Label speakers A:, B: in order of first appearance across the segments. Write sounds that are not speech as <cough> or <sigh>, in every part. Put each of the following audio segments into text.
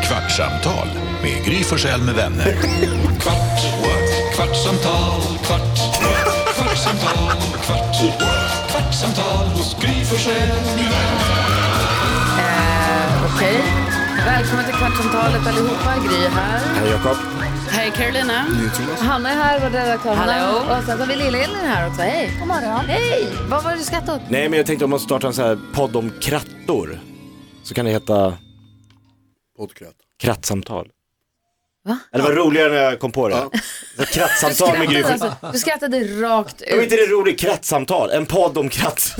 A: kvartsamtal med Gry Forssell med vänner. Kvart, what? kvartsamtal, kvart, what? kvartsamtal, kvart, what? kvartsamtal, Gry Forssell med vänner.
B: Okej. Välkommen till Kvartsamtalet allihopa. Gry här.
C: Hej Jakob.
D: Hej Carolina.
B: Hanna är här, vår redaktör. Hanna.
D: Hallå.
B: Och sen har vi Lill-Elin här också. Hej. God morgon. Hej. Vad var det du skrattade åt?
C: Nej men jag tänkte om man startar en sån här podd om krattor. Så kan det heta
E: Poddkratt.
C: krattsamtal.
B: Va?
C: Eller det var roligare när jag kom på det. Så krattsamtal med Gry. Forssell.
B: du skrattade rakt
C: Det var inte
B: ut.
C: det roligt, krattsamtal. En podd om
E: <laughs>
C: kratt.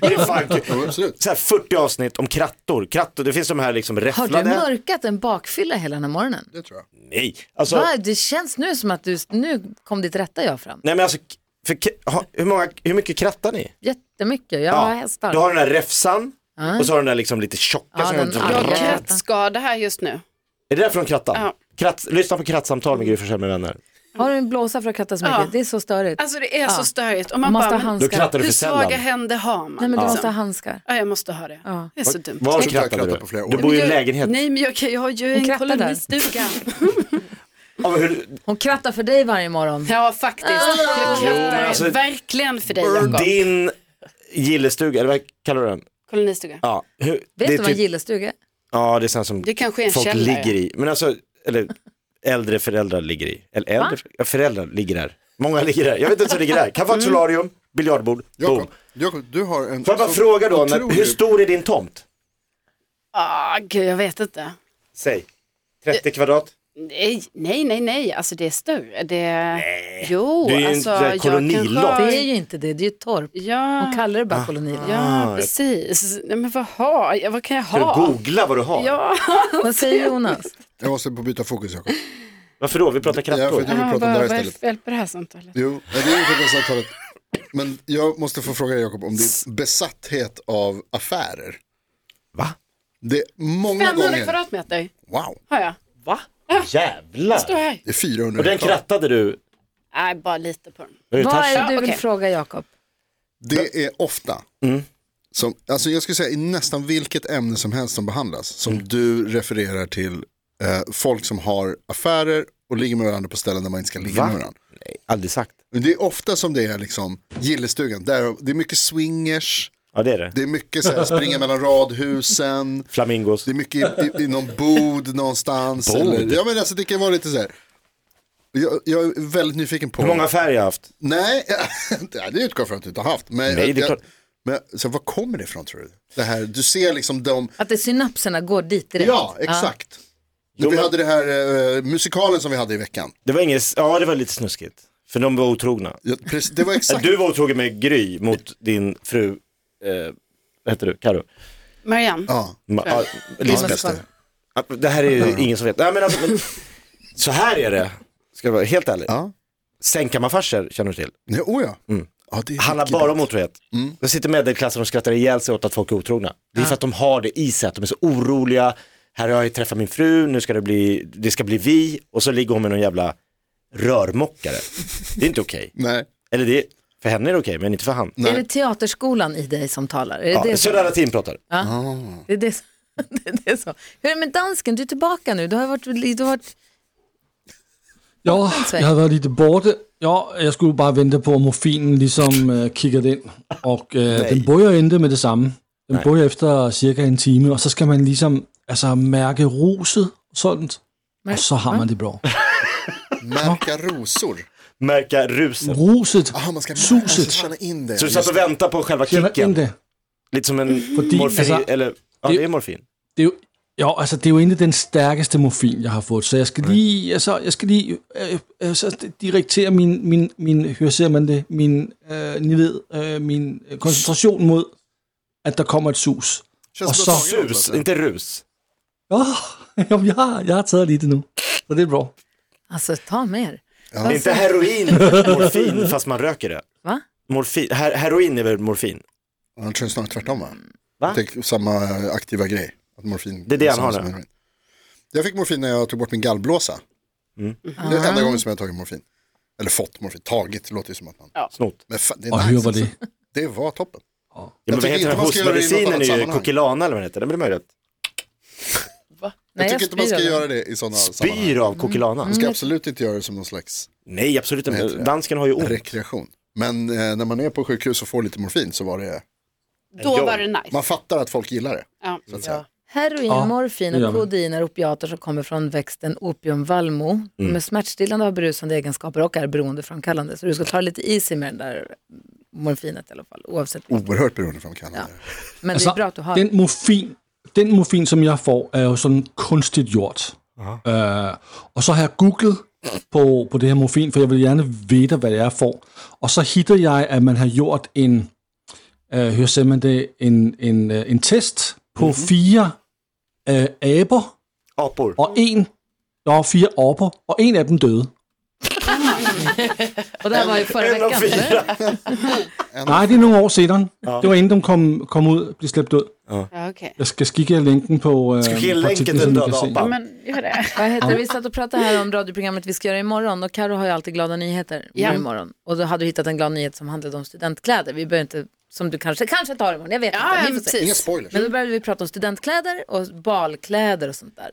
C: det är fan kul.
E: Ja, absolut.
C: Så här 40 avsnitt om krattor. Krattor, det finns de här liksom
B: Har du
C: räfflade.
B: mörkat en bakfylla hela den här morgonen?
E: Det tror jag.
C: Nej, alltså.
B: Va? Det känns nu som att du, nu kom ditt rätta jag fram.
C: Nej men alltså. För, k- ha- hur, många, hur mycket krattar ni?
B: Jättemycket. Jag har hästar.
C: Du har den där räfsan
B: Ja.
C: och så har du den där liksom lite tjocka.
B: Ja,
C: som
B: den-
C: går-
B: ja.
D: Jag har krattskada här just nu.
C: Är det därför de krattar?
D: Ja.
C: Kratt, lyssna på krattsamtal med Gry Forssell med vänner.
B: Har du en blåsa för att kratta så mycket?
D: Ja.
B: Det är så störigt.
D: Alltså det är
B: Ja.
D: så störigt. Och man
B: måste
D: bara,
B: ha
D: men
C: Då
B: handskar.
C: krattar du
D: hur
C: för sällan.
D: svaga händer har man?
B: Nej men du
D: liksom?
B: måste ha handskar.
D: Ja, jag måste ha det.
B: Ja.
D: Det är så dumt.
C: Var
E: Jag tror inte jag
C: krattade
E: krattar
C: du?
E: på flera år.
C: Du bor ju i
D: Jag-
C: en lägenhet.
D: Nej, men jag, kan- jag har ju
B: Hon
D: en
B: krattar där.
D: kolonistuga. <laughs>
C: Ja, men hur,
B: Hon krattar för dig varje morgon.
D: ja, faktiskt.
B: Ah.
D: Jag krattar
C: alltså-
D: verkligen för dig, Jakob.
C: din gillestuga, eller vad kallar du den?
D: Kolonistuga.
C: Ja, hur,
B: Vet
C: det
B: du
C: är
B: vad
C: typ-
B: gillestuga är?
C: Ja, det är sånt som
D: Det kanske är en
C: folk
D: källare.
C: ligger i. Men alltså, eller äldre föräldrar ligger i. Eller äldre ja, föräldrar ligger där. Många ligger där. Jag vet inte vad som ligger där. Kan
D: Mm.
C: vara ett solarium, biljardbord, boom.
E: Jakob, Jakob, du har en...
C: Får jag bara
E: så
C: fråga då, när,
E: otrolig-
C: hur stor är din tomt?
D: Ah, gud, jag vet inte.
C: Säg, 30 kvadrat?
D: Nej, nej, nej, nej. alltså det är större. Det... Nej. Jo,
C: Det är ju en
D: alltså
C: sån här
D: jag
C: kolonilott.
D: kanske-
B: Det är ju inte det, det är ju ett torp.
D: Ja,
B: Hon kallar det
C: Ah.
B: bara kolonier.
D: ja
C: jag-
D: precis. Nej, men vad har jag? Vad kan jag
C: Ska
D: ha?
C: du googla vad du har?
D: Ja.
B: Vad säger Jonas?
E: Jag måste på byta fokus Jakob.
C: Varför då? Vi pratar
E: Ja, för
C: krattor.
E: att jag vill
D: Ah,
E: prata
D: vad-
E: om det här
D: vad är
E: istället.
D: fel på det här samtalet?
E: Jo, ja, det är inte det samtalet. Men jag måste få fråga dig, Jakob om din besatthet av affärer.
C: Va?
E: Det är många
D: 500
E: gånger.
D: kvadratmeter
E: Wow,
D: har jag.
C: Va? Jävlar!
D: Står här.
E: det är 400
C: Och den
E: hektar.
C: krattade du?
D: Nej, bara lite på den.
C: Är du
B: Vad
C: taskig?
B: är det du vill
D: Okej.
B: fråga Jakob?
E: Det är ofta.
C: Mm.
E: Som, alltså jag skulle säga i nästan vilket ämne som helst som behandlas. Som
C: Mm.
E: du refererar till eh, folk som har affärer och ligger med varandra på ställen där man inte ska ligga
C: Va?
E: med varandra.
C: Aldrig sagt.
E: Men det är ofta som det är liksom gillestugan. Där, det är mycket swingers,
C: Ja det är det.
E: det är mycket så här, springa mellan radhusen.
C: Flamingos.
E: Det är mycket i, i, i någon bod någonstans.
C: Bod?
E: Eller, ja men alltså det kan vara lite så här. Jag, jag är väldigt nyfiken på.
C: Hur många affärer jag har haft?
E: Nej, <laughs> ja, det utgår jag från att du inte har haft. Men,
C: Nej, det är
E: jag,
C: klart.
E: men så, vad kommer det ifrån tror du? Det här, du ser liksom de,
B: Att det synapserna går dit direkt?
E: ja exakt.
C: Jo,
E: vi
C: men-
E: hade det här eh, musikalen som vi hade i veckan.
C: Det var inget, ja det var lite snuskigt. För de var otrogna.
E: Ja, precis, Det var exakt.
C: Du var otrogen med Gry mot din fru, eh, vad heter du, Karo?
D: Marianne,
E: Ja,
C: Ma- ja, Lisbeth.
B: Lisbeth.
C: Ja, Det här är ju ingen som vet. Nej, men alltså, <laughs> men, så här är det, ska jag vara helt ärlig.
E: ja.
C: Sänkammarfarser känner du till.
E: Nej, oh ja.
C: Mm.
E: ja det är
C: handlar
E: mycket-
C: bara om otrohet. Då sitter medelklassen och skrattar ihjäl sig åt att folk är otrogna. Det är för att de har det i sig, att de är så oroliga. Här har jag träffat min fru, nu ska det bli, det ska bli vi och så ligger hon med någon jävla rörmokare. Det är inte okej.
E: Nej,
C: Eller det, för henne är det okej, men inte för han.
B: Är det teaterskolan i dig som talar? Är det,
C: Ja,
B: det, som,
C: Södra latin pratar.
B: det, är det, som- <laughs> det, är det som. Hur är det med dansken? Du är tillbaka nu. Du har varit... Du har varit
F: Ja,
B: Sverige.
F: jag har varit lite borta. Ja, jag skulle bara vänta på att morfinen liksom äh, kickade in. Och øh, den börjar inte med detsamma. Den börjar efter cirka en timme, och så ska man liksom alltså, märka ruset och sånt.
B: Men-
F: Och så har man det bra.
E: märka rosor.
C: Märka ruset.
F: Mm. Ruset,
E: Aha, man ska
F: Suset.
E: alltså, känna in det.
C: Så du satt och väntade på själva
F: känner
C: kicken?
F: in det.
C: Lite som en
F: Fordi,
C: morfin,
F: altså,
C: eller ja
F: det-
C: det är morfin.
F: Det är ju, ja, alltså det är ju inte den starkaste morfin jag har fått, så jag ska lige, alltså, jag ska lige øh, altså, direktera min, min, min, hur säger man det, min, øh, ni vet, øh, min øh, koncentration mot att det kommer ett sus.
E: Känns
F: och
E: som
F: så-
E: att jag har tagit
C: Sus,
E: något, alltså.
C: inte rus.
F: Ja, jamen, jeg, har, jeg har taget lidt nu, så det er bra.
B: alltså, ta mer.
C: Det är Inte heroin, morfin, fast man röker det.
B: Alltså. Va?
C: Morfin, her heroin är väl morfin?
E: Han tror snarare tvärtom va?
C: Va?
E: Det är samma aktiva grej. Att morfin,
C: Det är det han har
E: samma som
C: nu.
E: heroin. Jag fick morfin när jag tog bort min gallblåsa.
C: Mm.
E: Det är enda gången som jag har tagit morfin. Eller fått morfin, tagit, det låter ju som att man...
C: Snot.
E: Men fan, det är
F: Og
E: nice,
F: høre, Ah, var det.
E: alltså. Det var toppen.
C: Ja, men vad
E: tycker
C: heter
E: inte
C: den?
E: man ska göra det i något
C: Hostmedicinen
E: annat
C: är ju
E: sammanhang.
C: kokilana eller vad den heter, det är möjligt.
E: Jag tycker
B: jag
E: inte man
B: spyr
E: ska
B: av den.
E: göra det i sådana sammanhang.
C: Spyr av kokilana?
E: Man ska absolut inte göra det som någon slags
C: Nej, absolut inte.
E: heter det?
C: Dansken har ju ont.
E: rekreation. Men eh, när man är på sjukhus och får lite morfin så var det,
D: Då var det nice.
E: man fattar att folk gillar det.
D: Ja.
E: Så att
D: Ja.
E: säga.
B: Heroin,
F: Ja,
B: morfin
F: det gör
B: och
F: vi.
B: kodein är opiater som kommer från växten opiumvallmo.
F: Mm.
B: De är smärtstillande, har berusande egenskaper och är beroendeframkallande. Så du ska ta det lite easy med den där morfinet i alla fall, oavsett.
E: Oerhört beroendeframkallande.
B: Men det
F: Altså,
B: är bra att du har
F: den morfin, den morfin, som jeg får, er jo sådan kunstigt gjort. Øh, og så har jeg googlet på, på det her morfin, for jeg vil gerne vide, hvad det er, jeg får. Og så hitter jeg, at man har gjort en, øh, hør ser man det, en, en, øh, en test på mm-hmm. fire øh, aber,
C: Apor.
F: og en, der var fire aber, og en af dem døde.
B: Och det här var ju förra
C: En av
B: veckan. eller?
G: <laughs>
C: fyra.
F: Nej, det er nogle år senere. Det var inden de kom, kom ud, blev slæbt ud.
D: Ja, okej.
F: Jeg skal skikke jer linken på... Øh,
C: Skal
F: på
C: give jer lænken,
F: artiklen,
C: den
F: så ni
C: der
F: kan se.
D: Ja,
C: deroppe.
D: men gör det.
B: Vad heter det? Vi satt och pratade här om radioprogrammet vi ska göra imorgon och Karo har ju alltid glada nyheter
D: Ja.
B: imorgon. Och då hade du hittat en glad nyhet som handlade om studentkläder. Vi behöver inte, som du kanske, kanske tar imorgon, jag vet
D: Ja, ja,
B: inte. Vi får se.
E: Inga
D: precis.
E: spoilers.
B: Men då började vi prata om studentkläder och balkläder och sånt där.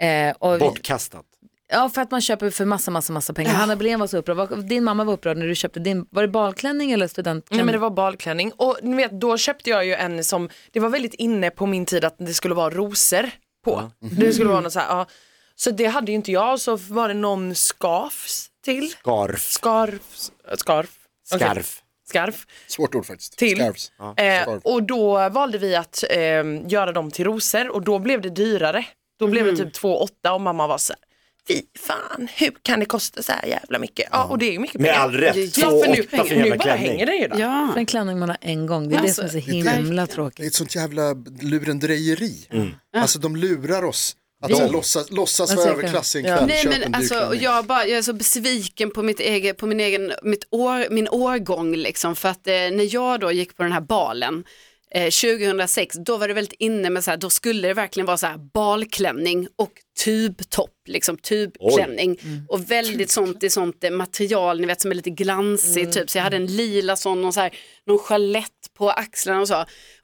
D: Mm.
B: Eh, och vi,
C: Bortkastat.
B: ja, för att man köper för massa, massa, massa pengar. Hanna Belén var så upprörd. Var- Din mamma var upprörd när du köpte din, var det balklänning eller studentklänning?
G: Nej
C: Mm.
G: men det var balklänning och ni vet då köpte jag ju en som, det var väldigt inne på min tid att det skulle vara rosor på. Mm. Det skulle vara något så här, ja. Så det hade ju inte jag så var det någon scarfs till.
C: Skarf.
G: Scarf, scarf. Okej.
C: Skarf.
G: Scarf.
E: Svårt ord faktiskt.
G: Till.
E: Scarves.
G: Eh,
E: Scarf.
G: och då valde vi att eh, göra dem till rosor och då blev det dyrare. Då blev
C: Mm.
G: det typ 2 8 och mamma var så här, fy fan hur kan det kosta så här jävla mycket? Ja, och det är ju mycket
C: Med
G: pengar.
C: all rätt.
G: Ja,
C: Två,
G: för nu,
C: åtta för en
G: hänger- nu
C: jävla
G: bara
C: klänning.
G: hänger den ju där.
D: Ja.
B: För en klänning man har en gång, det
D: Alltså,
B: är det som är så himla tråkigt.
E: Det är ett sånt jävla lurendrejeri.
C: Mm.
E: Alltså de lurar oss. Att så här, låtsas, låtsas vara
B: säger det.
E: överklass i en
B: Ja.
E: kväll,
D: Nej
E: köp en
D: men
E: dyr
D: alltså och
E: klänning.
D: jag, bara, jag är så besviken på, mitt eget, på min egen, mitt år, min årgång liksom. För att eh, när jag då gick på den här balen eh, 2006, då var det väldigt inne med så här, då skulle det verkligen vara så här balklänning och tubtopp, liksom tubklänning.
E: Mm.
D: Och väldigt sånt i sånt eh, material, ni vet som är lite glansigt
E: Mm.
D: typ. Så jag hade en lila sån och så här, någon chalett på axlarna och så.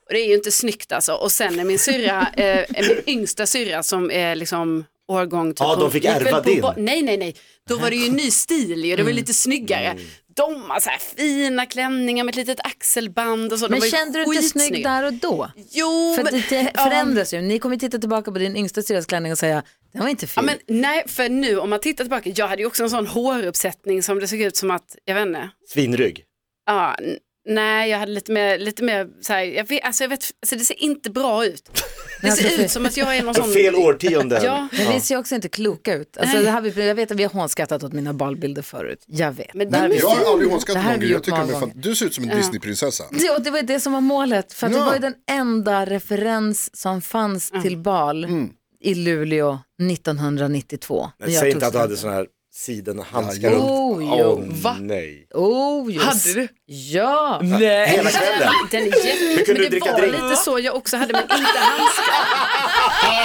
D: Och det är ju inte snyggt alltså. Och sen är min syrra, eh, min yngsta syrra som är liksom årgång typ,
C: Ja, de
D: hon
C: fick
D: gick väl
C: ärva
D: på
C: din. Mm.
D: ba- Nej, nej, nej. Då var det ju ny stil ju, det var ju lite snyggare. De har så här fina klänningar med ett litet axelband och så. De
B: Men
D: var ju
B: kände du dig snygg
D: skitsnygga.
B: där och då?
D: Jo,
B: För
D: men,
B: det,
D: <laughs>
B: det förändras ju. Ni kommer titta tillbaka på din yngsta syrras klänning och säga, den var inte
D: Ja,
B: fin.
D: men, nej, för nu om man tittar tillbaka, jag hade ju också en sån håruppsättning som det såg ut som att, jag vet inte,
C: Svinrygg.
D: ja, n- nej, jag hade lite mer, lite mer så här, jag vet, alltså, jag vet, alltså, det ser inte bra ut. Det ser ut som att jag är någon sån...
C: <laughs> Fel årtionde.
D: Ja.
B: Men vi ser också inte kloka ut. Alltså, det här, vi- jag vet att vi har hånskattat åt mina balbilder förut. Jag vet.
D: Men
B: Det här
D: det-
B: vi-
E: Jag har aldrig
B: Det
E: hånskattat
B: här
E: någon
B: har vi
E: grej. Jag
B: gjort
E: tycker de
B: många
E: är fan... Du ser ut som en Disneyprinsessa.
B: Det, och det var det som var målet, för att det
E: Ja.
B: var ju den enda referens som fanns till bal
C: Mm.
B: i Luleå 1992. när jag
C: Säg
B: tog
C: inte att du hade
B: studenten.
C: sådana här sidenhandskar
E: Ja,
C: runt.
B: jo. Oh, jo.
C: Åh,
G: Va?
C: nej.
B: Oh, just.
G: Hade du?
B: Ja.
G: Nej.
C: Hela kvällen.
D: Den är jätte...
C: Hur kunde
D: men
C: du
D: det
C: dricka
D: var
C: drink?
D: lite så jag också hade, men inte handskar.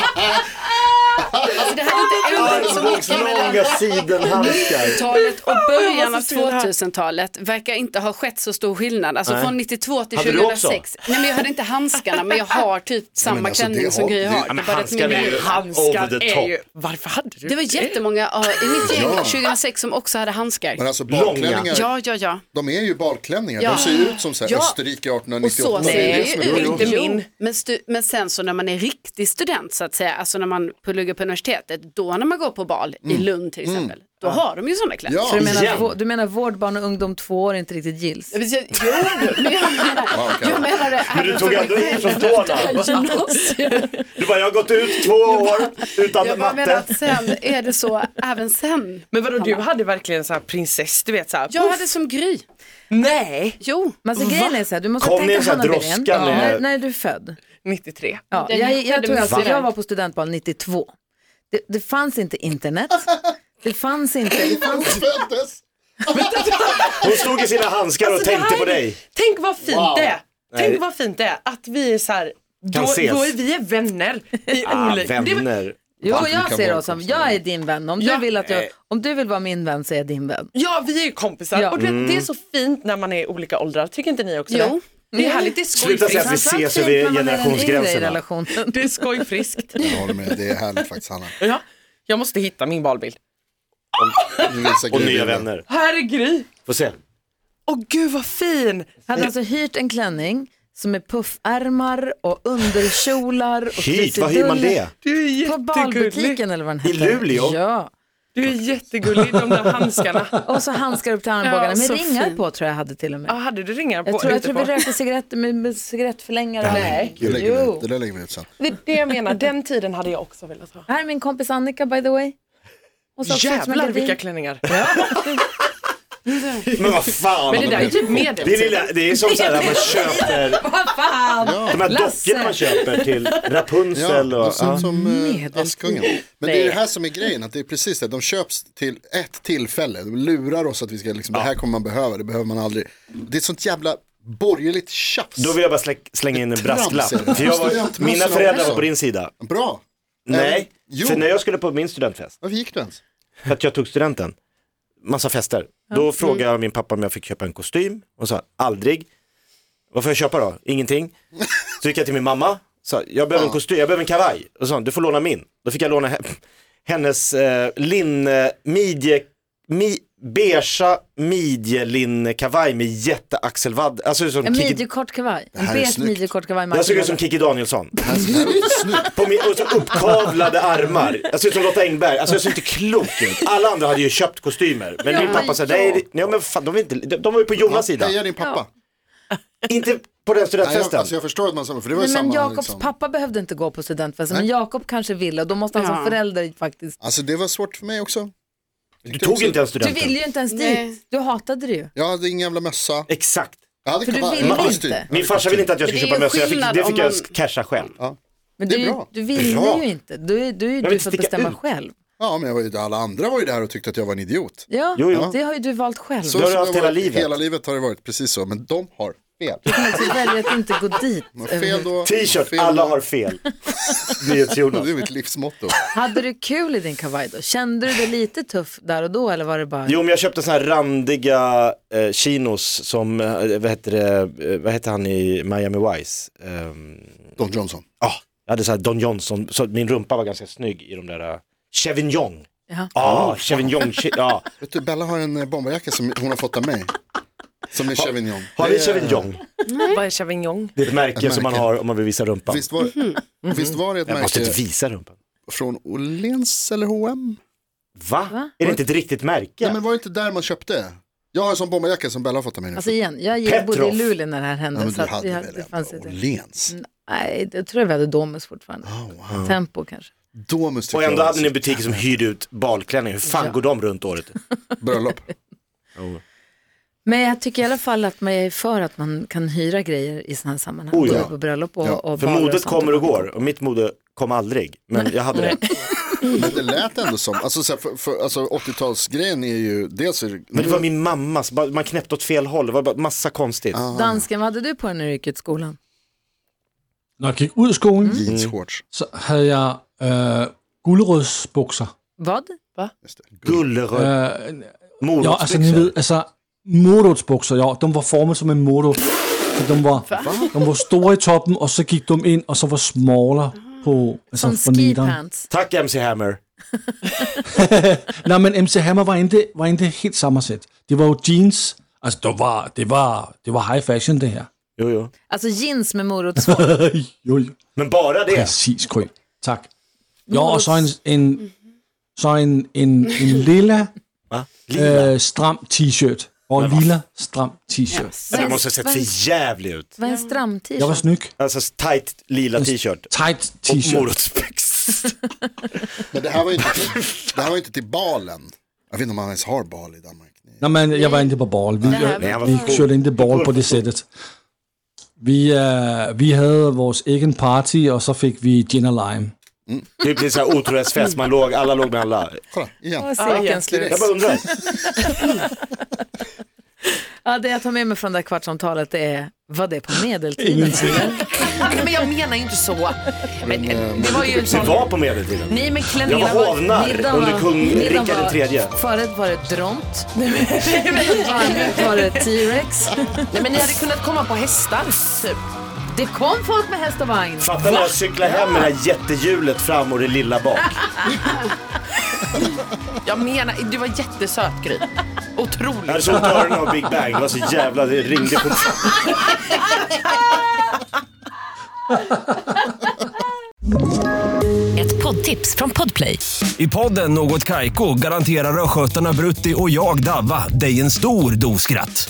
D: alltså det hade inte ändrats så mycket mellan
C: Långa sidenhandskar.
D: 90-talet och början av
G: vad så synd det här.
D: 2000-talet verkar inte ha skett så stor skillnad. Alltså från 92 till
C: Hade du också?
D: 2006. Nej men jag hade inte handskarna men jag har typ samma
E: men alltså,
D: klänning
E: det
D: som
E: har-
D: Gry
E: det-
D: har.
E: Ja,
D: Det,
C: men
D: bara att
C: handskar
D: min-
C: är ju- Over
G: Handskar
C: the
G: är
C: top.
G: ju, varför hade du
D: det var jättemånga ja, i mitt gäng
E: Ja.
D: 2006 som också hade handskar.
E: Men alltså balklänningar,
D: Ja, ja, ja.
E: de är ju balklänningar.
D: Ja.
E: De ser ju ut som så här,
D: Ja.
E: Österrike
D: Och så
E: 1898.
D: ser
E: Det är
D: det
E: som
D: ju
E: är
D: ut.
G: det
E: grejen.
G: inte
E: <laughs>
D: Jo,
G: min.
D: Men, stu, men sen så när man är riktig student så att säga, alltså när man pluggar på universitetet, då när man går på bal i Lund till exempel, då har de ju sådana kläder.
E: Ja.
B: Så du menar,
C: Igen.
B: vå- du menar vård, barn och ungdom två år inte riktigt gills?
D: Jo, men jag menar,
E: okej.
D: jag menar det. Alltså,
C: Men du tog ändå i från tårna.
D: tårna.
C: Du bara, jag har gått ut två år utan
D: Jag bara menar
C: matte.
D: att sen är det så även sen.
G: Men vadå, du hade verkligen så här prinsess, du vet så här.
D: Jag hade som Gry.
G: Nej!
D: Jo.
B: Men alltså, grejen är så här, du måste
C: Kom ni
B: tänka
C: en sån här
B: Hanna Belén,
C: droska
B: ja.
C: när-
B: när, när är du född?
G: 93.
B: Ja,
D: Den
B: jag, jag,
D: hittade
B: tror
D: vi
B: alltså,
D: senare.
B: jag var på studentbal 92. Det, det fanns inte internet. Det fanns inte... Det fanns,
E: Föddes.
C: Hon stod i sina handskar och
G: Alltså, det
C: tänkte
G: här
C: på
G: är-
C: dig.
G: Tänk vad fint
C: Wow.
G: det är.
C: Nej.
G: Tänk vad fint det är att vi är så här, då,
C: Kan ses.
G: då är vi är vänner. I
C: Ah,
G: olika- Det var-
C: vänner.
B: jo,
E: Varför
B: jag
E: kan
B: ser
E: vara
B: oss som,
E: kompisar?
B: jag är din vän. Om,
G: Ja.
B: du vill att jag, om du vill vara min vän så är jag din vän.
G: Ja, vi är ju kompisar.
B: Ja.
C: Mm.
G: Och du vet, det är så fint när man är i olika åldrar. Tycker inte ni också det?
D: Jo,
G: Det är härligt, det är
C: Sluta säga att vi
G: skojfriskt.
C: ses
B: Framförallt
C: över
B: fint när man är en yngre i
C: generationsgränserna.
B: relation.
G: Det
D: <laughs>
G: är skojfriskt.
E: Jag håller med, det är härligt faktiskt Hanna.
G: Ja, jag måste hitta min valbild.
E: Du visar
C: Och
E: grejer.
C: nya vänner.
G: Här är Gry.
C: Får se.
G: Åh gud vad fin.
B: Han har alltså hyrt en klänning som är puffärmar och underkjolar. Och
C: Hit, vad hyr man det?
G: Du är
B: På
G: jättegullig.
B: balbutiken eller vad den
C: I
B: heter.
C: Luleå?
B: Ja.
G: Du är jättegullig, de där handskarna.
B: Och så handskar upp till armbågarna
G: Ja,
B: med
G: så
B: ringar
D: fin.
B: på tror jag jag hade till och med.
G: Ja, hade du ringar på?
B: Jag tror, jag
G: ute
B: tror
G: på?
B: vi rökte cigaretter med, med cigarettförlängare. Nej.
E: Det lägger vi
B: Jo.
E: ut, det där lägger vi ut sen.
G: Det är det jag menar, den tiden hade jag också velat ha.
B: Här är min kompis Annika by the way. Hon sa också att som en
G: Jävlar
B: gardin.
G: vilka klänningar.
C: Men vad fan.
G: Men det där är typ
C: Det är,
G: medeltid.
C: lilla, det är som så
B: <laughs>
C: här när man köper,
B: Vad fan!
C: de här
B: Lasse.
C: dockorna man köper till Rapunzel
E: Ja,
C: och...
E: och
C: Ja.
E: sen som eh,
B: Medeltid.
E: Askungen. Men det är det här som är grejen, att det är precis det, de köps till ett tillfälle, de lurar oss att vi ska, liksom, det här kommer man behöva, det behöver man aldrig. Det är ett sånt jävla borgerligt tjafs.
C: Då vill jag bara slä- slänga in en
E: Trams är det.
C: brasklapp. För jag var,
E: Studentmössorna
C: mina föräldrar
E: också.
C: var på din sida.
E: Bra.
C: Nej,
E: jo.
C: för när jag skulle på min studentfest,
E: Varför gick du ens?
C: för att jag tog studenten, massa fester, då frågade jag min pappa om jag fick köpa en kostym och sa aldrig. Vad får jag köpa då? Ingenting. Så gick jag till min mamma, sa jag behöver en kostym, jag behöver en kavaj. Och så sa hon, du får låna min. Då fick jag låna he- hennes eh, linne, midje, mi, beiga midjelinnekavaj med jätteaxelvadd. Alltså som
B: En
C: Kiki,
B: midjekort kavaj. En
E: här är
B: beige
E: snyggt.
B: midjekort kavaj.
C: jag såg ut
B: Martin
C: som Kiki Danielsson.
E: Det här- det här är ju snyggt.
C: På min, och så uppkavlade armar. Jag ser ut som Lotta Engberg. Alltså jag ser inte klok ut. Alla andra hade ju köpt kostymer. Men min pappa sa, nej, det- nej men fan, de, är inte, de, de var ju på Jonas sida.
E: Heja din pappa.
C: Inte på den
E: Nej, jag,
C: studentfesten.
E: alltså, jag förstår att man sa för det var ju
B: Nej, men
E: samma.
B: Jakobs
E: liksom.
B: pappa behövde inte gå på studentfesten, men Jakob kanske ville och då måste han som
D: Ja.
B: förälder faktiskt.
E: Alltså det var svårt för mig också.
C: Du tog inte ens
B: Du
C: studenten.
B: ville ju inte ens
D: Nej.
B: dit, du hatade det ju.
E: Jag hade ingen jävla mössa.
C: Exakt.
E: Jag hade typ.
B: För du
E: kavaj,
B: ville
E: jag hade
B: inte.
E: kostym. Jag hade
C: Min farsa
E: kostym.
C: ville inte att jag skulle
D: Men det är
C: köpa mössa.
D: ju
C: Jag fick,
D: skillnad
C: det fick
D: om
C: jag
D: man-
C: casha själv.
B: Men
E: Det är
B: du,
E: bra.
B: du ville
C: Bra.
B: ju inte, du, är- du är ju
C: vill
B: du
C: inte
B: för att
C: sticka
B: bestämma
C: ut.
B: själv.
E: Ja, men jag var ju, alla andra var ju där och tyckte att jag var en idiot.
B: Ja,
C: Jo, jo.
B: det har ju du valt själv.
E: Så
C: Det Mm. har du
E: som
C: haft
E: jag
C: hela
E: varit-
C: livet.
E: Hela livet har det varit precis så, men de har
C: <laughs>
E: fel.
B: Du kan alltså välja att inte gå
E: <laughs>
B: dit.
E: De har fel då.
C: T-shirt,
E: de fel
C: alla
E: då.
C: har
D: <laughs>
C: fel. NyhetsJonas.
E: <laughs> Det är mitt livsmotto.
B: Hade du kul i din kavaj då? Kände du dig lite tuff där och då eller var det bara?
C: Jo men jag köpte såna här randiga eh, chinos som, eh, vad heter det, eh, vad heter han i Miami Vice? Ehm,
E: Don Johnson.
C: Ja, jag hade så här Don Johnson, så min rumpa var ganska snygg i de där uh, Chevignon.
B: Jaha.
E: Oh,
C: Ja, Chevignon, chi- ja.
E: Vet du, Bella har en eh, bomberjacka som hon har fått av mig. Som är Chevignon.
C: Har
E: Det
C: ni
E: är-
C: Chevignon?
G: Vad är Chavignon?
C: Det är ett märke som man har om man vill visa rumpan.
E: Visst var, Mm-hmm. visst var det ett
C: Mhm. Jag måste
E: märke
C: inte visa rumpan.
E: från Åhléns eller H&M?
C: Va? Är det inte ett riktigt märke?
E: Nej, men var det inte där man köpte? Jag har en sån bomberjacka som Bella har fått av mig nu.
B: Alltså igen, jag
C: Petrov.
B: bodde i Luleå när det här hände.
E: ja, men
B: så
E: du
B: att
E: hade
B: vi,
E: väl
B: det
E: ändå
B: fanns inte.
E: Åhléns?
C: Mm.
B: Nej, det tror jag vi hade Domus fortfarande. Tempo kanske.
E: Domus tycker
C: Och ändå
E: jag
C: hade
E: var
C: ni butiker som hyrde ut balklänningar. Hur fan går de runt året?
E: så-
C: <laughs>
E: Bröllop.
B: Men jag tycker i alla fall att man är för att man kan hyra grejer i sådana här sammanhang.
C: Oh ja.
B: Både På bröllop och,
E: Ja,
B: och
C: För
B: barer och
C: modet
B: sånt.
C: kommer och går och mitt mode kom aldrig. Men jag hade det.
E: Men det lät ändå som, alltså, så här, för, för, alltså 80-talsgrejen är ju, dels är
C: Men det var min mammas, bara- man knäppte åt fel håll, det var bara massa konstigt.
B: Dansken, vad hade du på dig när du gick ut skolan?
F: Når jeg gik ud af skolen,
C: Mm.
E: jeansshorts.
F: så havde jeg øh, gulerødsbukser.
B: Vad?
E: Just det.
C: Gulleröd,
F: Øh, ja, altså, ni ved,
C: morotsbyxor.
F: altså, morotsbukser, ja, de var formet som en morot. Så de var, de var store i toppen, og så gik de ind, og så var smaller på, altså
B: Som
F: for nederen.
B: skipants.
C: Tack MC Hammer.
F: Nej, men MC Hammer var inte, var inte helt samma sätt. Det var ju jeans, alltså det var, det var, det var high fashion det
C: <laughs>
F: här.
C: Jo, jo.
B: Alltså jeans med
F: <laughs>
B: morotsvång.
F: jo, jo.
C: Men bara det.
F: Præcis, Gry. Tak. Jo, og så en, en, så en, en, en lilla
C: Va? Lila.
F: øh, stram t-shirt. Og en lilla stram t-shirt.
C: Men det måste ha sett för jävligt ut.
B: Vad är en stram
F: Jeg var
B: t-shirt?
F: snyg.
C: Alltså tight lila t-shirt
F: Tight
C: och
F: t-shirt.
C: morotsbyxor. <laughs>
E: Men det här var ju inte, det här var ju inte till balen. Jag vet inte om man ens har bal i Danmark.
F: Nå, men jeg var ikke på ball. Vi,
C: Nej, han var
F: vi
C: för cool.
F: kørte ikke ball på det sættet. Vi, øh, vi havde vores egen party, och så fik vi gin and lime.
C: Det blir så här otrohetsfest, man låg, alla låg med alla.
E: Kolla, igen.
B: Cirkeln
G: igen.
B: sluts.
C: Jag bara undrar.
B: Ja, det jag tar med mig från det här kvartsamtalet är, vad det på medeltiden? <laughs>
G: Nej, men jag menar ju inte så. Men, det var ju en
C: Det
G: sån...
C: var på medeltiden.
G: Mm.
B: Nej men klänning.
C: Jag var hovnarr
B: Middagen
C: under
B: var-
C: kung
B: middagen
C: Rikard
B: var-
C: III.
B: Förrätt var det <laughs> dront. Varmrätt var det T-rex.
G: Nej, men ni hade kunnat komma på hästar, typ.
B: Det kom folk med häst och vagn.
C: Fattar när jag cyklar hem med det här jättehjulet fram och det lilla bak.
G: <laughs> Jag menar, du var jättesöt Gry.
C: Jag hade
G: Otroligt.
C: sålt öronen av Big Bang. Det var så jävla, det ringde på...
H: Ett poddtips från Podplay.
I: I podden Något Kaiko garanterar östgötarna Brutti och jag, Davva, dig en stor dos skratt.